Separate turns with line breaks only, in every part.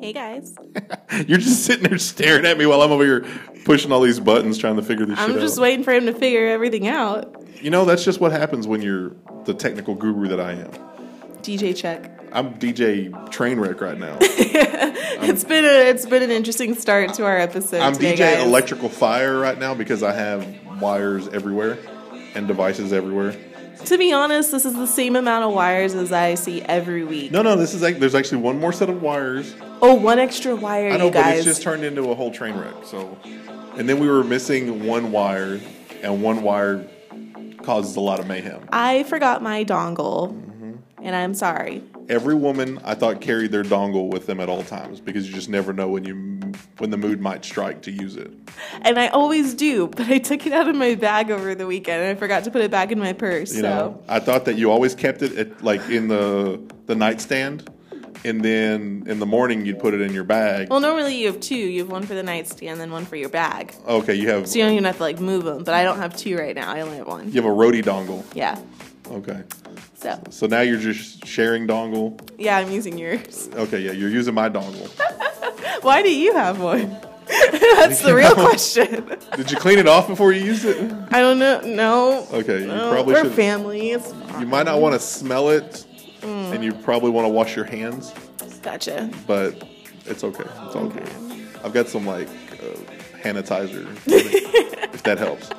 Hey guys,
You're just sitting there staring at me while I'm over here pushing all these buttons trying to figure this
I'm
shit
just
out.
waiting for him to figure everything out.
you know, that's just what happens when you're the technical guru that I am.
DJ check.
I'm DJ Trainwreck right now.
It's been a it's been an interesting start to our episode.
I'm
today,
DJ
guys.
Electrical Fire right now because I have wires everywhere and devices everywhere.
To be honest, this is the same amount of wires as I see every week.
No, no, this is like there's actually one more set of wires.
Oh, one extra wire,
I know,
you
but
guys.
it's just turned into a whole train wreck. So, and then we were missing one wire, and one wire causes a lot of mayhem.
I forgot my dongle,
Mm-hmm.
and I'm sorry.
Every woman I thought carried their dongle with them at all times because you just never know when you when the mood might strike to use it.
And I always do, but I took it out of my bag over the weekend, and I forgot to put it back in my purse.
You
so.
know, I thought that you always kept it at, like in the the nightstand, and then in the morning you'd put it in your bag.
Well, normally you have two. You have one for the nightstand, then one for your bag.
Okay, you have
So you don't even have to like move them. But I don't have two right now. I only have one.
you have a roadie dongle.
Yeah.
Okay,
So
so now you're just sharing dongle.
yeah, I'm using yours.
Okay, yeah, you're using my dongle.
Why do you have one? That's the real question.
Did you clean it off before you used it?
I don't know. No.
Okay, you
No,
probably
we're
should.
family. It's
You
fine.
might not want to smell it,
Mm.
and you probably want to wash your hands,
Gotcha.
but it's okay. It's all good. I've got some like uh, sanitizer, if that helps.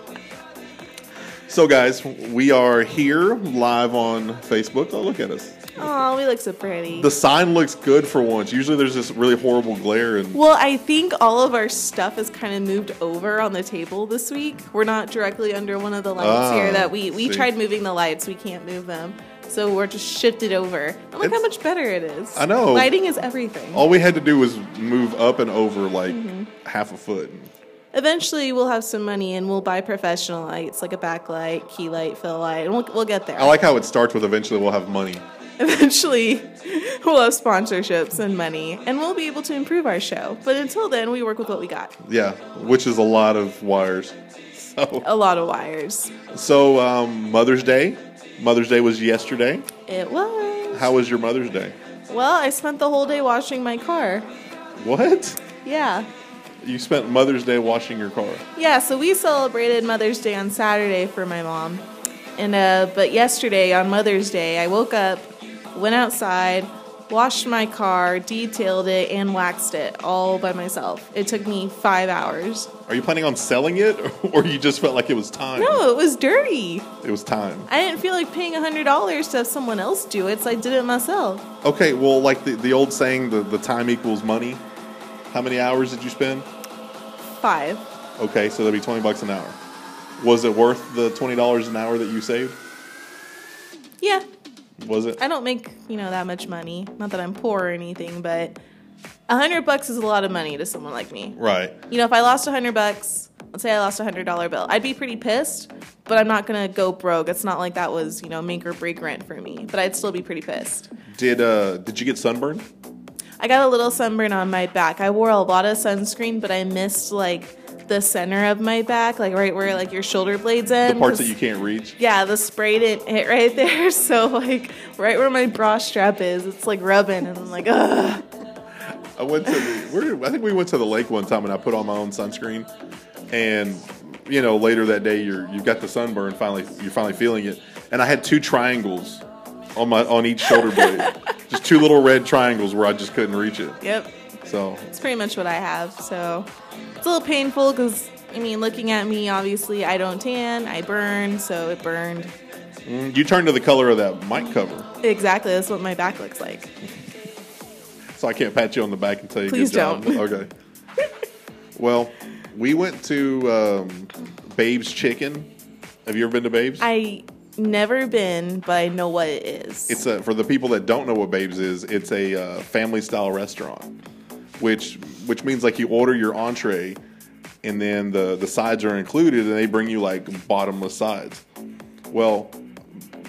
So, guys, we are here live on Facebook. Oh, look at us.
Oh, we look so pretty.
The sign looks good for once. Usually, there's this really horrible glare, and
Well, I think all of our stuff is kind of moved over on the table this week. We're not directly under one of the lights
Ah,
here that we we
see.
tried moving the lights, we can't move them. So we're just shifted over. And look how
It's-
much better it is.
I know.
Lighting is everything.
all we had to do was move up and over like half a foot.
Eventually we'll have some money and we'll buy professional lights like a backlight, key light, fill light, and we'll, we'll get there.
I like how it starts with eventually we'll have money.
Eventually we'll have sponsorships and money and we'll be able to improve our show. But until then, we work with what we got.
Yeah, which is a lot of wires. So,
A lot of wires.
so um, Mother's Day. Mother's Day was yesterday.
It was.
How was your Mother's Day?
Well, I spent the whole day washing my car.
What?
Yeah.
You spent Mother's Day washing your car.
Yeah, so we celebrated Mother's Day on Saturday for my mom. And uh but yesterday on Mother's Day, I woke up, went outside, washed my car, detailed it and waxed it all by myself. It took me 5 hours.
Are you planning on selling it, or you just felt like it was time?
No, it was dirty.
It was time.
I didn't feel like paying $100 to have someone else do it, so I did it myself.
Okay, well, like the, the old saying, the, the time equals money. How many hours did you spend?
5.
Okay, so that'd be 20 bucks an hour. Was it worth the $20 an hour that you saved?
Yeah.
Was it?
I don't make, you know, that much money. Not that I'm poor or anything, but 100 bucks is a lot of money to someone like me.
Right.
You know, if I lost a hundred bucks, let's say I lost a hundred dollar bill, I'd be pretty pissed. But I'm not gonna go broke. It's not like that was you know make or break rent for me. But I'd still be pretty pissed.
Did uh did you get sunburned?
I got a little sunburn on my back. I wore a lot of sunscreen, but I missed like the center of my back, like right where like your shoulder blades
The
end.
parts that
'cause-
you can't reach?
Yeah, the spray didn't hit right there. So like right where my bra strap is, it's like rubbing, and I'm like, ugh.
I went to the, where, I think we went to the lake one time and I put on my own sunscreen, and you know later that day you're you've got the sunburn finally you're finally feeling it, and I had two triangles on my on each shoulder blade, just two little red triangles where I just couldn't reach it.
Yep,
So
It's pretty much what I have. So it's a little painful because, I mean, looking at me, obviously, I don't tan, I burn, so it burned.
mm, you turn to the color of that mic cover,
Exactly, that's what my back looks like.
so I can't pat you on the back and tell you
Please
good job.
don't.
Okay. well, we went to um, Babe's Chicken. Have you ever been to Babe's?
I never been, but I know what it is.
It's a, for the people that don't know what Babes is. It's a uh, family style restaurant, which which means like you order your entree, and then the the sides are included, and they bring you like bottomless sides. Well,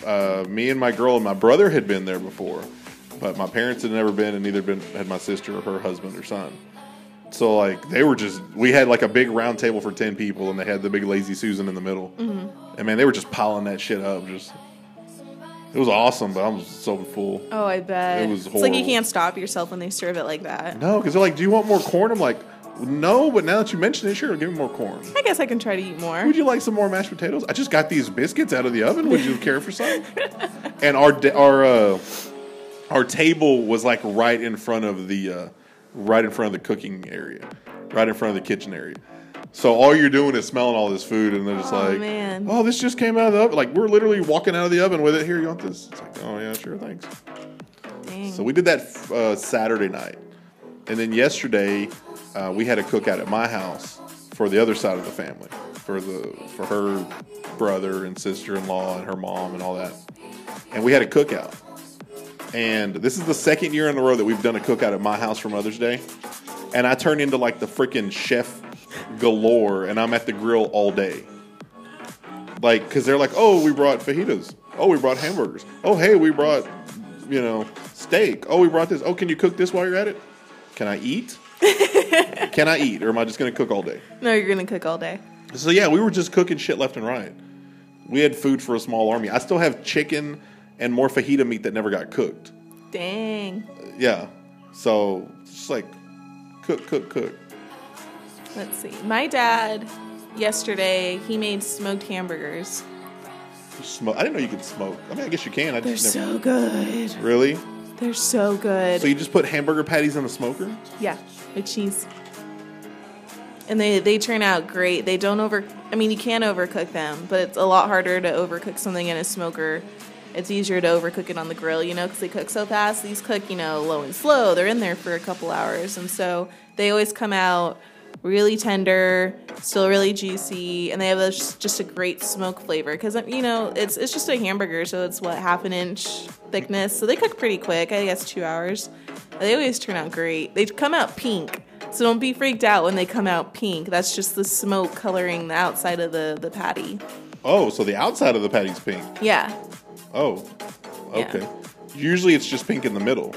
uh, me and my girl and my brother had been there before, but my parents had never been, and neither been had my sister or her husband or son. So like they were just we had like a big round table for ten people, and they had the big lazy Susan in the middle, and man, they were just piling that shit up, just It was awesome, but I was so full.
Oh, I bet.
It was
It's like you
horrible.
can't stop yourself when they serve it like that.
No, because they're like, "Do you want more corn?" I'm like, "No," but now that you mention it, sure, give me more corn.
I guess I can try to eat more.
Would you like some more mashed potatoes? I just got these biscuits out of the oven. Would you care for some? and our da- our uh, our table was like right in front of the uh, right in front of the cooking area, right in front of the kitchen area. So all you're doing is smelling all this food, and they're just
Aw,
like,
man.
"Oh, this just came out of the oven." Like we're literally walking out of the oven with it. Here, you want this? It's like, "Oh yeah, sure, thanks."
Dang.
So we did that uh, Saturday night, and then yesterday uh, we had a cookout at my house for the other side of the family, for the for her brother and sister-in-law and her mom and all that, and we had a cookout. And this is the second year in a row that we've done a cookout at my house for Mother's Day, and I turned into like the freaking chef galore, and I'm at the grill all day like because they're like, oh, we brought fajitas. Oh, we brought hamburgers. Oh, hey, we brought you know steak. Oh, we brought this. Oh, can you cook this while you're at it? Can I eat? can I eat, or am I just gonna cook all day?
no, you're gonna cook all day.
So yeah, we were just cooking shit left and right. We had food for a small army. I still have chicken and more fajita meat that never got cooked.
Dang.
Yeah, so just like cook, cook, cook.
Let's see. My dad yesterday he made smoked hamburgers.
Smoke. I didn't know you could smoke. I mean, I guess you can. I
They're
just never
so good.
really.
They're so good.
So you just put hamburger patties in the smoker.
yeah, with cheese. And they, they turn out great. They don't over. I mean, you can overcook them, but it's a lot harder to overcook something in a smoker. It's easier to overcook it on the grill, you know, because they cook so fast. These cook, you know, low and slow. They're in there for a couple hours, and so they always come out really tender, still really juicy, and they have a, just a great smoke flavor. Because you know, it's it's just a hamburger, so it's what half an inch thickness. So they cook pretty quick. I guess two hours. They always turn out great. They come out pink. So don't be freaked out when they come out pink. That's just the smoke coloring the outside of the, the patty.
Oh, so the outside of the patty's pink.
Yeah.
Oh,
Yeah.
okay. Usually it's just pink in the middle.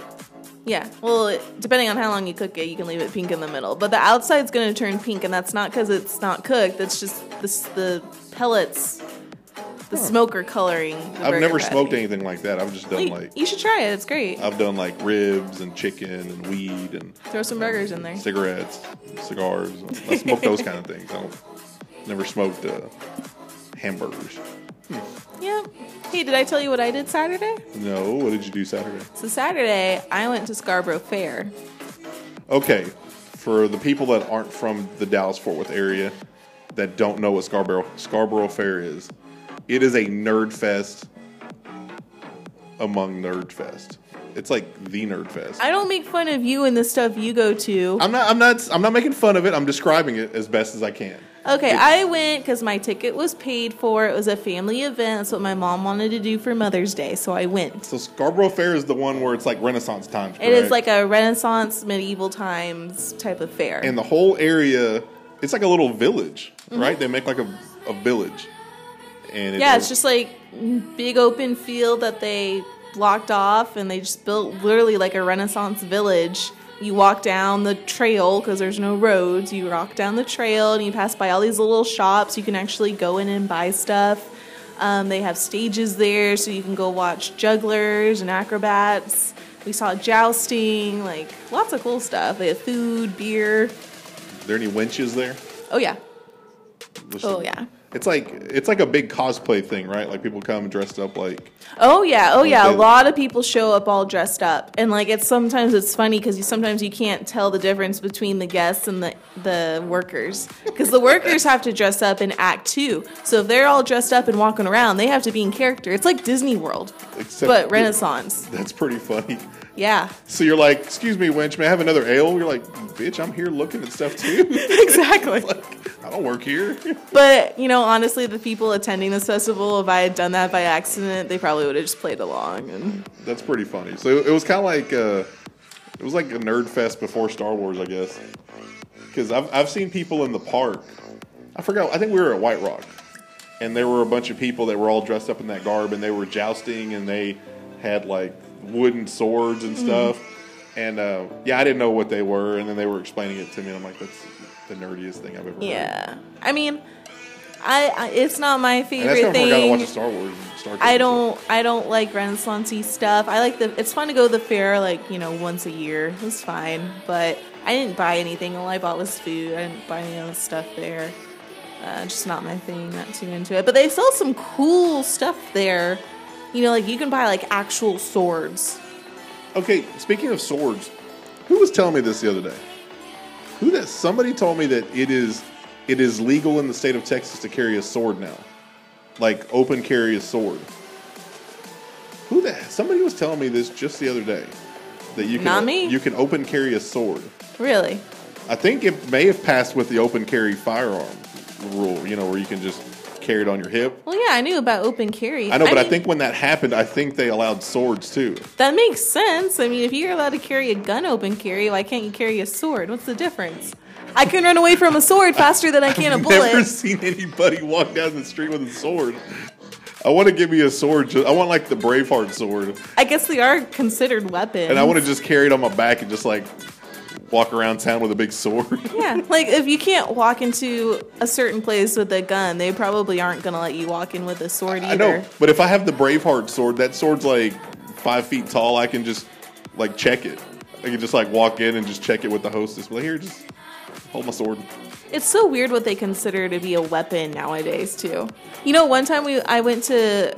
Yeah. Well, it- depending on how long you cook it, you can leave it pink in the middle. But the outside's going to turn pink, and that's not because it's not cooked. That's just this, the pellets, the smoke are coloring. The
I've
burger
never
patty.
smoked anything like that. I've just done
You-
like Uh,
you should try it. It's great.
I've done like ribs and chicken and weed and
Throw some burgers in there.
cigarettes, cigars. I smoke those kind of things. I don't never smoked uh, hamburgers.
Yep. Hey, did I tell you what I did Saturday?
No, what did you do Saturday?
So Saturday, I went to Scarborough Fair.
Okay, for the people that aren't from the Dallas Fort Worth area that don't know what Scarborough Scarborough Fair is, it is a nerd fest among nerd fest. It's like the nerd fest.
I don't make fun of you and the stuff you go to.
I'm not. I'm not. I'm not making fun of it. I'm describing it as best as I can.
Okay, I went because my ticket was paid for. It was a family event. That's what my mom wanted to do for Mother's Day, so I went.
So Scarborough Fair is the one where it's like Renaissance times.
It is
correct?
like a Renaissance, medieval times type of fair.
and the whole area. It's like a little village, right? They make like a, a village, and it
Mm-hmm. yeah, it's just like big open field that they blocked off, and they just built literally like a Renaissance village. You walk down the trail because there's no roads. You walk down the trail and you pass by all these little shops. You can actually go in and buy stuff. Um, they have stages there, so you can go watch jugglers and acrobats. We saw jousting, like lots of cool stuff. They have food, beer.
Are there any winches there?
Oh yeah,
There's
oh
some-
yeah.
It's like it's like a big cosplay thing, right? Like people come dressed up like
Oh yeah, oh yeah.
they-
A lot of people show up all dressed up, and like it's sometimes it's funny because you, sometimes you can't tell the difference between the guests and the the workers because the workers have to dress up and act too. So if they're all dressed up and walking around, they have to be in character. It's like Disney World,
Except-
but Renaissance.
that's pretty funny.
Yeah,
So you're like, "Excuse me, wench, may I have another ale?" You're like, "Bitch, I'm here looking at stuff too.
exactly.
like, I don't work here."
But you know, honestly, the people attending this festival, if I had done that by accident, they probably would have just played along. And
That's pretty funny. So it was kind of like uh, it was like a nerd fest before Star Wars, I guess. Because I've I've seen people in the park. I forgot. I think we were at White Rock, and there were a bunch of people that were all dressed up in that garb, and they were jousting, and they had like wooden swords
Mm-hmm.
and stuff. And uh, yeah, I didn't know what they were, and then they were explaining it to me, and I'm like, that's the nerdiest thing I've ever. heard."
yeah, I mean, I, I it's not my
And that's
favorite
kind of I got to
thing.
watch Star Wars. and Star Trek
I
is-
don't I don't like Renaissancey stuff. I like the it's fun to go to the fair like, you know, once a year. It's fine. But I didn't buy anything. All I bought was food. I didn't buy any other stuff there. Uh, just not my thing, not too into it. But they sell some cool stuff there. You know, like you can buy like actual swords.
Okay, speaking of swords, who was telling me this the other day? Who that somebody told me that it is it is legal in the state of Texas to carry a sword now. Like open carry a sword. Who that somebody was telling me this just the other day. That you can
Not me.
you can open carry a sword.
Really?
I think it may have passed with the open carry firearm rule, you know, where you can just carry it on your hip.
Well, yeah, I knew about open carry.
I know, but I
mean,
think when that happened, I think they allowed swords too.
that makes sense. I mean, if you're allowed to carry a gun open carry, why can't you carry a sword? What's the difference? I can run away from a sword faster than I can a bullet.
Never seen anybody walk down the street with a sword. I want to give me a sword. ju- I want like the Braveheart sword,
I guess they are considered weapons.
and I want to just carry it on my back and just like walk around town with a big sword.
Yeah, like if you can't walk into a certain place with a gun, they probably aren't gonna let you walk in with a sword
I
either.
know, but if I have the Braveheart sword, that sword's like five feet tall. I can just like check it. I can just like walk in and just check it with the hostess. Be Like here, just hold my sword.
It's so weird what they consider to be a weapon nowadays too. You know, one time we I went to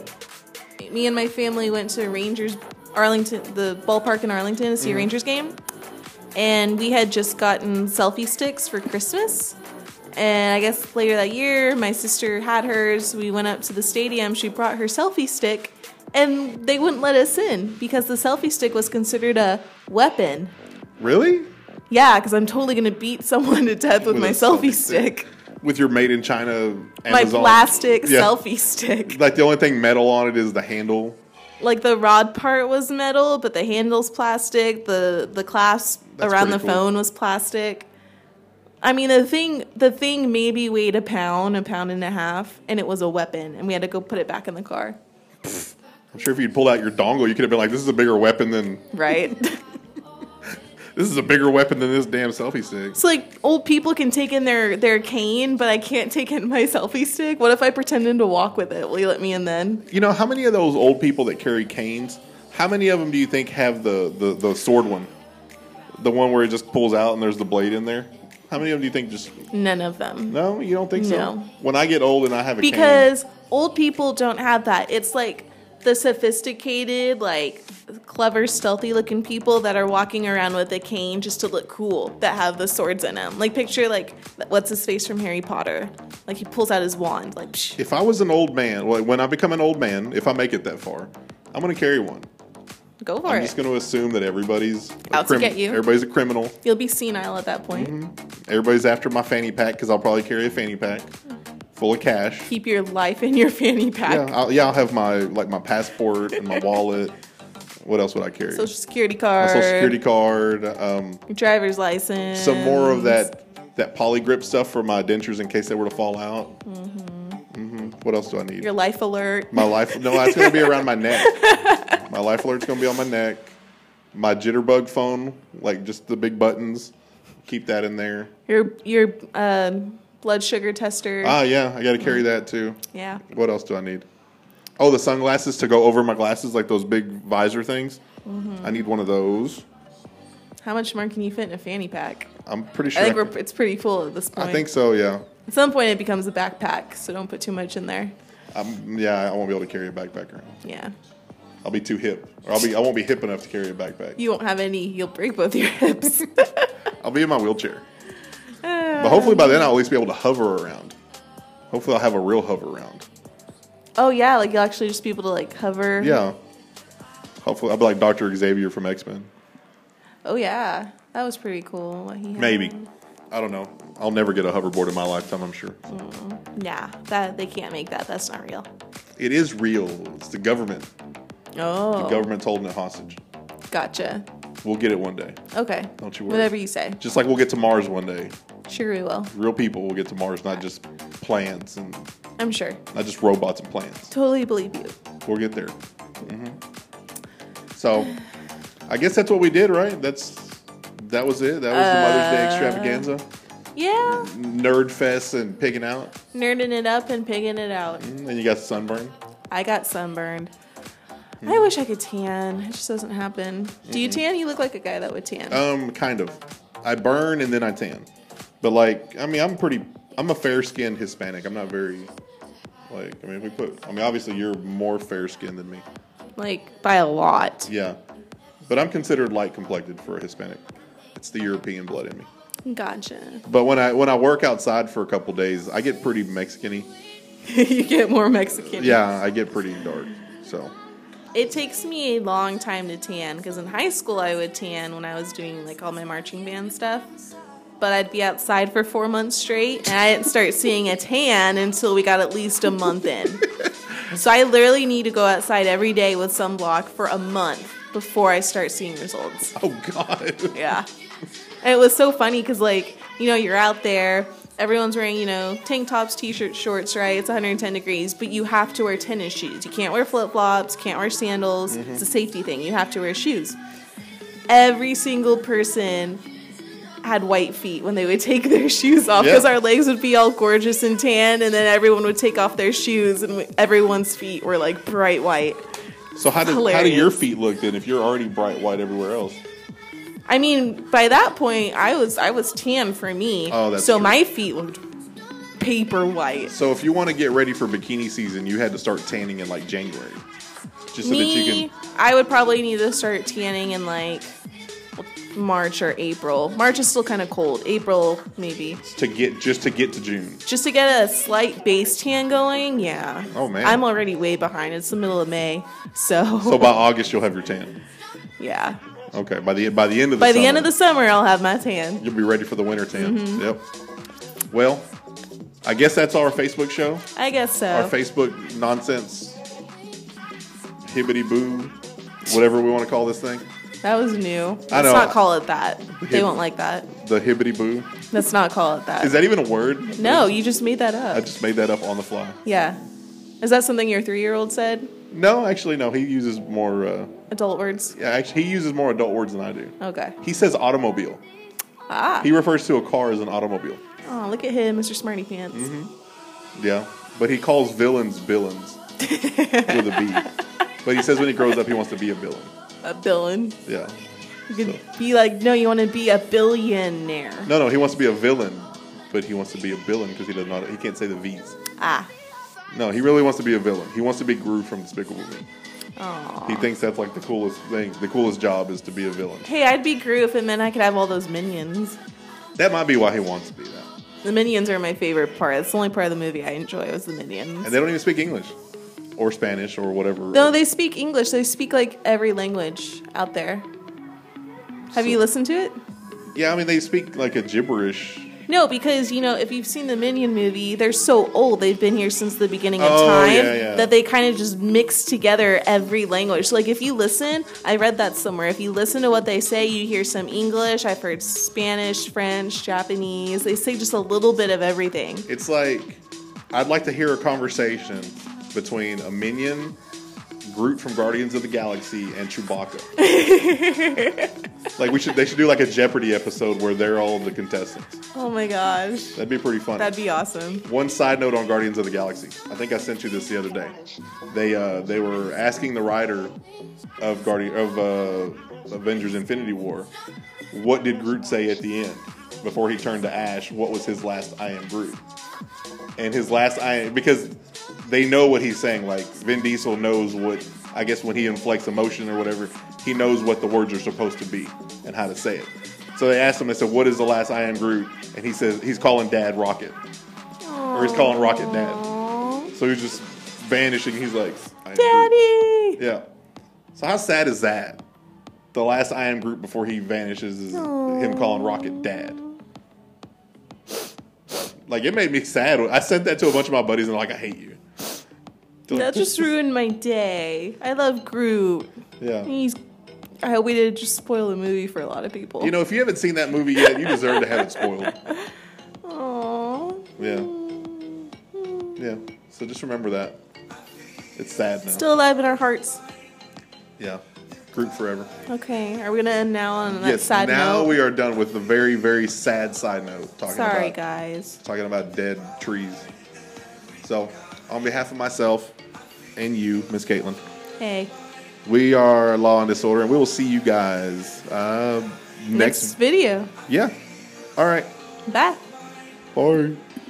me and my family went to Rangers Arlington the ballpark in Arlington to see a Rangers game. And we had just gotten selfie sticks for Christmas. And I guess later that year, my sister had hers. We went up to the stadium. She brought her selfie stick, and they wouldn't let us in because the selfie stick was considered a weapon.
Really?
Yeah, because I'm totally gonna beat someone to death with,
With
my
a
selfie stick.
With your made in China
My
Amazon
plastic
Yeah.
selfie stick.
Like the only thing metal on it is the handle.
Like the rod part was metal, but the handle's plastic. The the clasp
That's
around the
pretty cool.
phone was plastic. I mean the thing the thing maybe weighed a pound, a pound and a half, and it was a weapon, and we had to go put it back in the car.
I'm sure if you'd pulled out your dongle, you could have been like, "This is a bigger weapon than
Right?
this is a bigger weapon than this damn selfie stick."
it's like old people can take in their their cane, but I can't take in my selfie stick. What if I pretended to walk with it? Will you let me in then?
You know how many of those old people that carry canes? How many of them do you think have the the, the sword one, the one where it just pulls out and there's the blade in there? How many of them do you think just
None of them.
no? You don't think so?
No.
When I get old and I have a cane,
because old people don't have that. It's like the sophisticated, like clever, stealthy looking people that are walking around with a cane just to look cool that have the swords in them. Like picture like what's his face from Harry Potter? Like he pulls out his wand. Like psh.
if I was an old man, well, when I become an old man, if I make it that far, I'm gonna carry one.
go for
I'm
it.
just gonna assume that everybody's a
Out to get you.
Everybody's a criminal.
You'll be senile at that point.
Mm-hmm. Everybody's after my fanny pack because I'll probably carry a fanny pack full of cash.
Keep your life in your fanny pack.
Yeah, I'll, yeah, I'll have my like my passport and my wallet. What else would I carry?
Social security
my
card.
social security card. Um,
Your driver's license.
some more of that that polygrip stuff for my dentures in case they were to fall out. Mm-hmm. What else do I need?
Your life alert.
my life. No, it's going to be around my neck. My life alert's going to be on my neck. My jitterbug phone, like just the big buttons. Keep that in there.
Your your um, blood sugar tester.
Ah, yeah, I got to carry that too.
yeah.
What else do I need? Oh, the sunglasses to go over my glasses, like those big visor things. I need one of those.
How much more can you fit in a fanny pack?
I'm pretty
I
sure.
think we're, it's pretty full at this point.
I think so. Yeah.
At some point, it becomes a backpack, so don't put too much in there.
Um, yeah, I won't be able to carry a backpack around.
Yeah.
I'll be too hip, or I'll be I won't be hip enough to carry a backpack.
You won't have any, you'll break both your hips.
I'll be in my wheelchair.
Uh.
But hopefully by then I'll at least be able to hover around. Hopefully I'll have a real hover around.
oh, yeah, like you'll actually just be able to like hover.
Yeah. Hopefully I'll be like Doctor Xavier from X Men.
Oh, yeah. That was pretty cool. what he had.
Maybe. I don't know. I'll never get a hoverboard in my lifetime. I'm sure.
Yeah, that, they can't make that. That's not real.
It is real. It's the government.
Oh.
Government's holding it hostage.
Gotcha.
We'll get it one day.
Okay.
Don't you worry.
Whatever you say.
Just like we'll get to Mars one day.
Sure, we will.
Real people will get to Mars, not just plants and
I'm sure.
not just robots and plants.
Totally believe you.
We'll get there. hmm So, I guess that's what we did, right? That's that was it. That was the Mother's Day extravaganza,
Yeah.
nerd fest, and picking out,
Nerding it up and pigging it out.
and you got sunburn.
I got sunburned. I wish I could tan. It just doesn't happen. Do you tan? You look like a guy that would tan.
Um, kind of. I burn and then I tan. But like, I mean, I'm pretty. I'm a fair skinned Hispanic. I'm not very. Like, I mean, we put. I mean, obviously, you're more fair skinned than me.
like by a lot.
Yeah, but I'm considered light complected for a Hispanic. It's the European blood in me.
Gotcha.
But when I when I work outside for a couple days, I get pretty Mexican-y.
you get more Mexican.
Yeah, I get pretty dark. So
It takes me a long time to tan because in high school I would tan when I was doing like all my marching band stuff. But I'd be outside for four months straight and I didn't start seeing a tan until we got at least a month in. so I literally need to go outside every day with sunblock for a month before I start seeing results.
Oh God.
Yeah. And it was so funny because, like, you know, you're out there, everyone's wearing, you know, tank tops, t shirts, shorts, right? It's 110 degrees, but you have to wear tennis shoes. You can't wear flip flops, can't wear sandals. It's a safety thing. You have to wear shoes. Every single person had white feet when they would take their shoes off because
Yeah.
our legs would be all gorgeous and tan, and then everyone would take off their shoes, and everyone's feet were like bright white.
So how do how do your
Hilarious.
feet look then if you're already bright white everywhere else?
I mean, by that point, I was I was tan for me.
Oh, that's
so
true.
my feet looked paper white.
So if you want to get ready for bikini season, you had to start tanning in like January, just so that you
me,
can.
I would probably need to start tanning in like March or April. March is still kind of cold. April maybe.
to get just to get to June.
Just to get a slight base tan going, yeah.
Oh, man.
I'm already way behind. It's the middle of May, so,
So by August you'll have your tan.
yeah.
Okay, by the by the end of the
By the end of
summer,
the summer, I'll have my tan.
you'll be ready for the winter tan. Yep.
Mm-hmm.
Well, I guess that's our Facebook show.
I guess so.
Our Facebook nonsense, hibbity boo, whatever we want to call this thing,
that was new. Let's
I know.
not call it that. They won't like that.
the hibbity boo.
Let's not call it that.
Is that even a word?
No, you just made that up.
I just made that up on the fly.
yeah. Is that something your three year old said?
No, actually, no. He uses more. Uh,
Adult words?
yeah, actually, he uses more adult words than I do.
Okay.
He says automobile.
Ah.
He refers to a car as an automobile.
Oh, look at him, Mr. Smarty Pants.
Mm-hmm. Yeah, but he calls villains villains with a B. But he says when he grows up, he wants to be a villain.
A villain.
Yeah.
You could be like, no, you want to be a billionaire.
No, no, he wants to be a villain, but he wants to be a villain because he does not. He can't say the V's.
Ah.
No, he really wants to be a villain. He wants to be Groove from Despicable Me. He thinks that's like the coolest thing. The coolest job is to be a villain.
Hey, I'd be Gru if it meant I could have all those minions.
That might be why he wants to be that.
The minions are my favorite part. It's the only part of the movie I enjoy was the minions.
And they don't even speak English or Spanish or whatever.
No, they speak English. They speak like every language out there. Have you listened to it?
yeah, I mean they speak like a gibberish.
No, because you know, if you've seen the Minion movie, they're so old; they've been here since the beginning of
Oh,
time
yeah, yeah.
that they kind of just mix together every language. So, like, if you listen, I read that somewhere. If you listen to what they say, you hear some English. I've heard Spanish, French, Japanese. They say just a little bit of everything.
It's like I'd like to hear a conversation between a minion, Groot from Guardians of the Galaxy, and Chewbacca. like we should, they should do like a Jeopardy episode where they're all the contestants.
Oh my gosh,
That'd be pretty funny.
that'd be awesome.
One side note on Guardians of the Galaxy. I think I sent you this the other day. They uh, they were asking the writer of Guardian of uh, Avengers: Infinity War, what did Groot say at the end before he turned to Ash? What was his last "I am Groot"? And his last "I" because they know what he's saying. Like Vin Diesel knows what I guess when he inflects emotion or whatever, he knows what the words are supposed to be and how to say it. So they asked him. They said, "What is the last I am Groot?" And he says he's calling Dad Rocket or he's calling Rocket Dad.
Aww.
So he's just vanishing. He's like, I am Groot.
Daddy.
Yeah. So how sad is that? The last I am Groot before he vanishes is him calling Rocket Dad. Like it made me sad. I sent that to a bunch of my buddies and they're like, I hate you. They're like,
That just ruined my day. I love Groot.
yeah.
He's. I hope we didn't just spoil the movie for a lot of people.
You know, if you haven't seen that movie yet, you deserve to have it spoiled.
Aww.
Yeah. Yeah. So just remember that. It's sad now.
Still alive in our hearts.
yeah. Groot forever.
Okay, are we gonna end now on that
Yes,
sad
now
note?
we are done with the very, very sad side note talking
Sorry,
about
guys.
talking about dead trees. So, on behalf of myself and you, Miss Caitlin.
Hey.
We are Law and Disorder, and we will see you guys uh,
Next video.
next. Yeah. All right.
Bye.
Bye.